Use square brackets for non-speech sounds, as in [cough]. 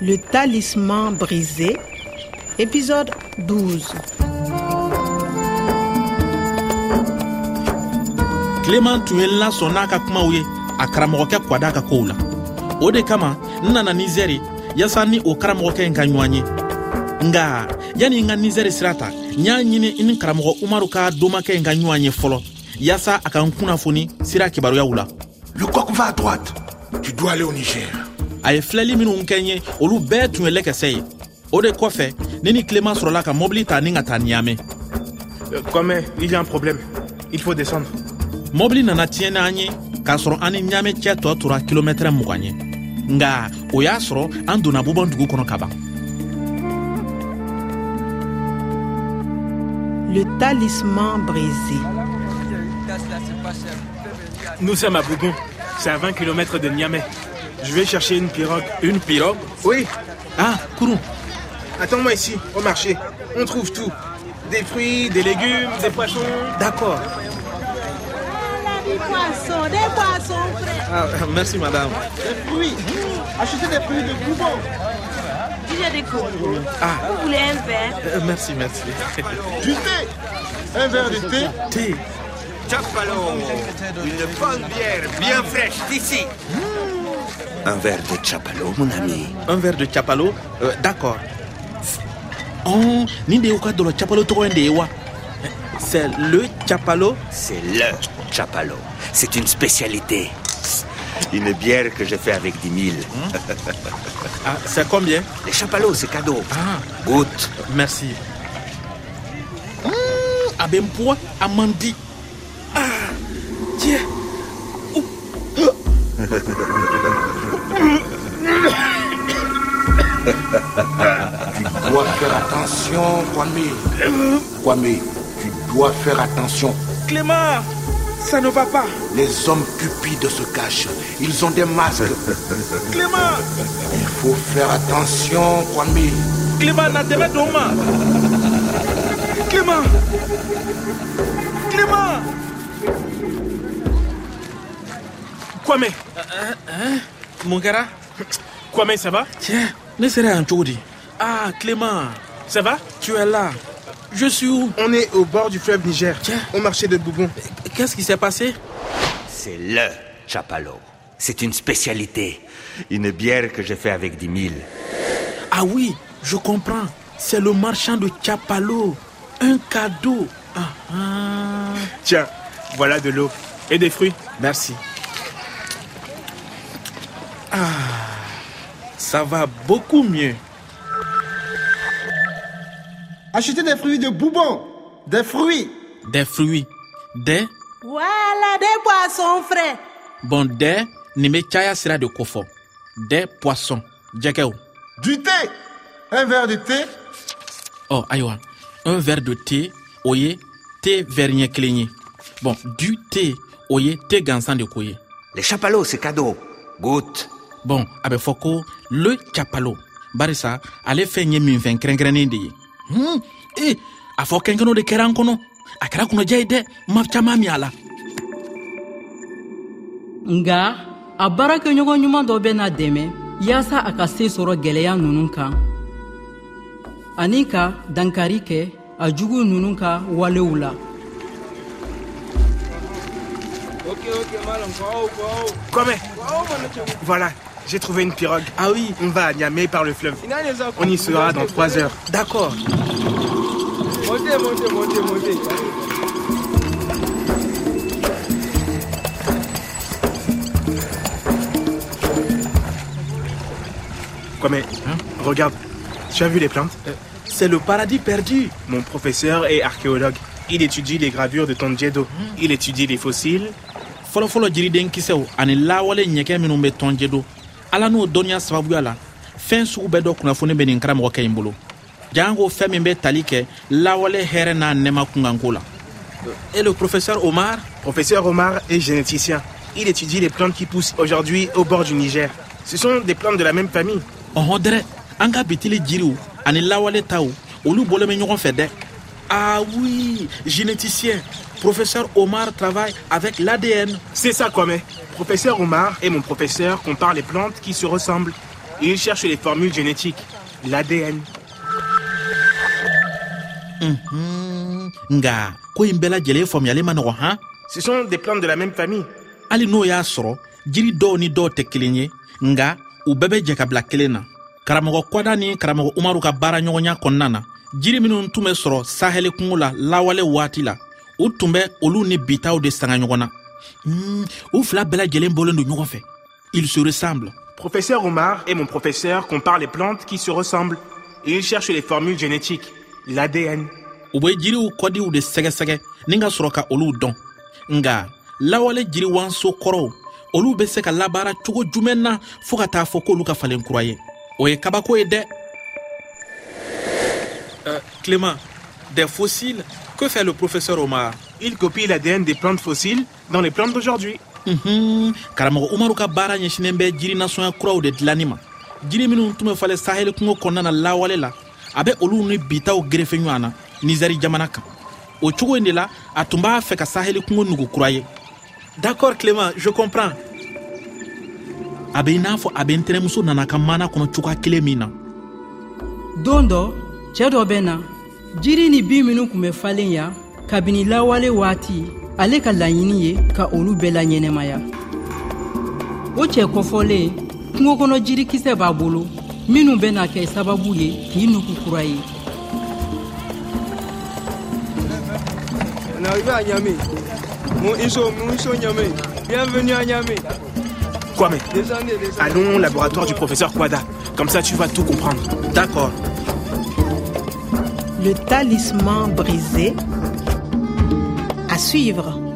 Le talisman brisé, épisode 12. kileman tun ye n lasɔn n'a ka kumaw ye a karamɔgɔkɛ kwada ka kow la o de kama n nana nizɛri yaasa ni o karamɔgɔkɛ in ka ɲɔgɔn ye nga yani n ka nizɛri sira ta n y'a ɲini n ni karamɔgɔ umaru ka domakɛ in ka ɲɔgɔn ye fɔlɔ yaasa a ka n kunnafoni sira kibaruyaw la Le coq va à droite. Tu dois aller au Niger. a ye filɛli minw kɛ n ye olu bɛɛ tun ye lɛkɛsɛ ye o de kɔfɛ ne ni kileman sɔrɔla ka mɔbili ta ni ka taa niyamɛ Euh, Kwame, il y a un problème. Il faut descendre. mɔbili nana tiɲɛ n'an ye k'a sɔrɔ an ni ɲaamɛ cɛ tɔ tora kilomɛtɛrɛ mugan ye nga o y'a sɔrɔ an donna bubɔn dugu kɔnɔ kaban Le talisman brisé. Nous sommes à Bougon. C'est à 20 km de Niamey. Je vais chercher une pirogue. Une pirogue Oui, ah kurun attends-moi ici, au marché. On trouve tout. Des fruits, des légumes, des poissons. D'accord. des poissons, des poissons frais. Ah, merci madame. Des fruits. Achetez des fruits de Bougon. J'ai des cocos. Vous voulez un verre Euh, merci merci Du thé. Un verre de thé. te Chapalon Une bonne bière bien fraîche d'ici Hmm. Un verre de chapalo, mon ami. un verre de chapalo euh, d'accord oh, nin de y'u ka dɔlɔ chapalo tɔgɔ ye de ye wa c'est le chapalo C'est le chapalo. C'est une spécialité. Une bière que j'ai fait avec 10 000. Hmm. ah, c'est combien Les chapalos, c'est cadeau. ah Goûte. merci mm, a bɛ n puwa a man di ah diɛ Tu dois faire attention, Kwame. Kwame, tu dois faire attention. clément ça ne va pas Les hommes cupides se cachent. Ils ont des [laughs] masques. clément Il faut faire attention, Kwame. clément na dɛmɛ don n ma clément clément Kwame, mun kɛra Kwame, ça va tiɲɛ ne sera yan cogo di ah clément Ça va tu es là je suis où On est au bord du fleuve Niger, Tiens. au marché de Bougon. qu'est ce qui s'est passé C'est le chapalo. C'est une spécialité. Une bière que j'ai fait avec 10 000. ah oui je comprends c'est le marchand de chapalo un cadeau ah, ah. Tiens, voilà de l'eau et des fruits. merci ah ça va beaucoup mieux Achetez des fruits de Bougon. Des fruits. des fruits des Voilà des poissons frais. bon des nin bɛ caya sira de ko fɔ des poissons jɛgɛw Du thé. Un verre de thé. ɔ ayiwa Oh, un verre de thé o ye thé verre ɲɛ kelen ye bon du thé o ye thé gansan de ko ye Les chapalos, c'est cadeau. Goûte. bon a bɛ fɔ ko le capalo barisa ale fɛn ye minfɛn kɛrɛnkɛrɛnnen de ye hmm, e a fɔ kɛnkɛnɛw de kɛra an kɔnɔ a kɛra kɔnɔdiya ye dɛ ma caaman min a la nga a baarakɛɲɔgɔn ɲuman dɔ bɛ na dɛmɛ yaasa a ka se sɔrɔ gwɛlɛya nunu kan ani ka dankari kɛ a jugu nunu ka walew la Kwame, voilà, j'ai trouvé une pirogue. ah oui On va à Niamey par le fleuve. On y sera dans 3 heures. d'accord Kwame, regarde. Tu as vu les plantes Hein? Euh, c'est le paradis perdu Mon professeur est archéologue. Il étudie les gravures de Tonjedo. Hein? Il étudie les fossiles. fɔlɔfɔlɔ jiriden kisɛw ani lawale ɲɛkɛ minw bɛ tɔnjɛ don ala n'o dɔnniya sababuya la fɛn sugu bɛɛ dɔ kunnafoni bɛ nin karamɔgɔkɛ ɲi bolo jan ko fɛn min bɛ tali kɛ lawale hɛrɛ n'a nɛma kunkanko la et E le professeur omar Professeur Omar est généticien. Il étudie les plantes qui poussent aujourd'hui au bord du Niger. Ce sont des plantes de la même famille. ɔhɔn dɛrɛ an ka bitili jiriw ani lawale taw olu bɔlen bɛ ɲɔgɔn fɛ dɛ ah oui généticien professeur omar travaille avec l'adn C'est ça, Kwame. Professeur Omar et mon professeur comparent les plantes qui se ressemblent. et ils cherchent les formules génétiques, l'ADN. Mhm. nga ko in bɛɛ lajɛlen faamuyali ma nɔgɔ han Ce sont des plantes de la même famille. hali n'o y'a sɔrɔ jiri dɔw ni dɔw tɛ kelen ye nga u bɛɛ bɛ jɛ ka bila kelen na karamɔgɔ kwada ni karamɔgɔ umaru ka baara ɲɔgɔnya kɔnɔna na jiri minw tun bɛ sɔrɔ sahɛli kungo la lawale waati la u tun bɛ olu ni bitaw de sanga ɲɔgɔn na Mm, u fila bɛɛ lajɛlen bolen don ɲɔgɔn fɛ il se ressemble Professeur Omar et mon professeur comparent les plantes qui se ressemblent et ils cherchent les formules génétiques, l'ADN. u bɛ jiriw kɔdiw de sɛgɛsɛgɛ ni ka sɔrɔ ka olu dɔn nga lawale jiri wanso kɔrɔw olu bɛ se ka labaara cogo jumɛn na fɔɔ ka taa fɔ k'olu ka falen kura ye o ye kabako ye dɛ Euh, Clément, des fossiles Que fait le professeur Omar Ils copient l'ADN des plantes fossiles dans les plantes d'aujourd'hui. Unhun, Mhm. karamɔgɔ umaru ka baara ɲɛsinen bɛ jiri nasɔnya kuraw de dilanni ma jiri minw tun bɛ falen sahɛli kungo kɔnɔna na lawale la a bɛ olu ni bitaw gerefe ɲɔgɔn na nizɛri jamana kan o cogo in de la a tun b'a fɛ ka sahɛli kungo nugu kura ye D'accord Clément, je comprends. a bɛ i n'a fɔ a bɛ ntɛnɛmuso nana ka mana kɔnɔ cogoya kelen min na don dɔ cɛɛ dɔ bɛ na jiri ni bin minw kun bɛ falen ya kabini lawale waati ale ka laɲini ye ka olu bɛɛ laɲɛnɛmaya o cɛ kɔfɔlen kungo kɔnɔ jirikisɛ b'a bolo minw bɛna kɛ sababu ye k'i nugu kura ye On arrive à Niamey. Mon ISO, mon ISO Niamey. Bienvenue à Niamey. Quoi mais Descendez, descendez. Allons au laboratoire du professeur Kwada. Comme ça, tu vas tout comprendre. d'accord Le talisman brisé. À suivre.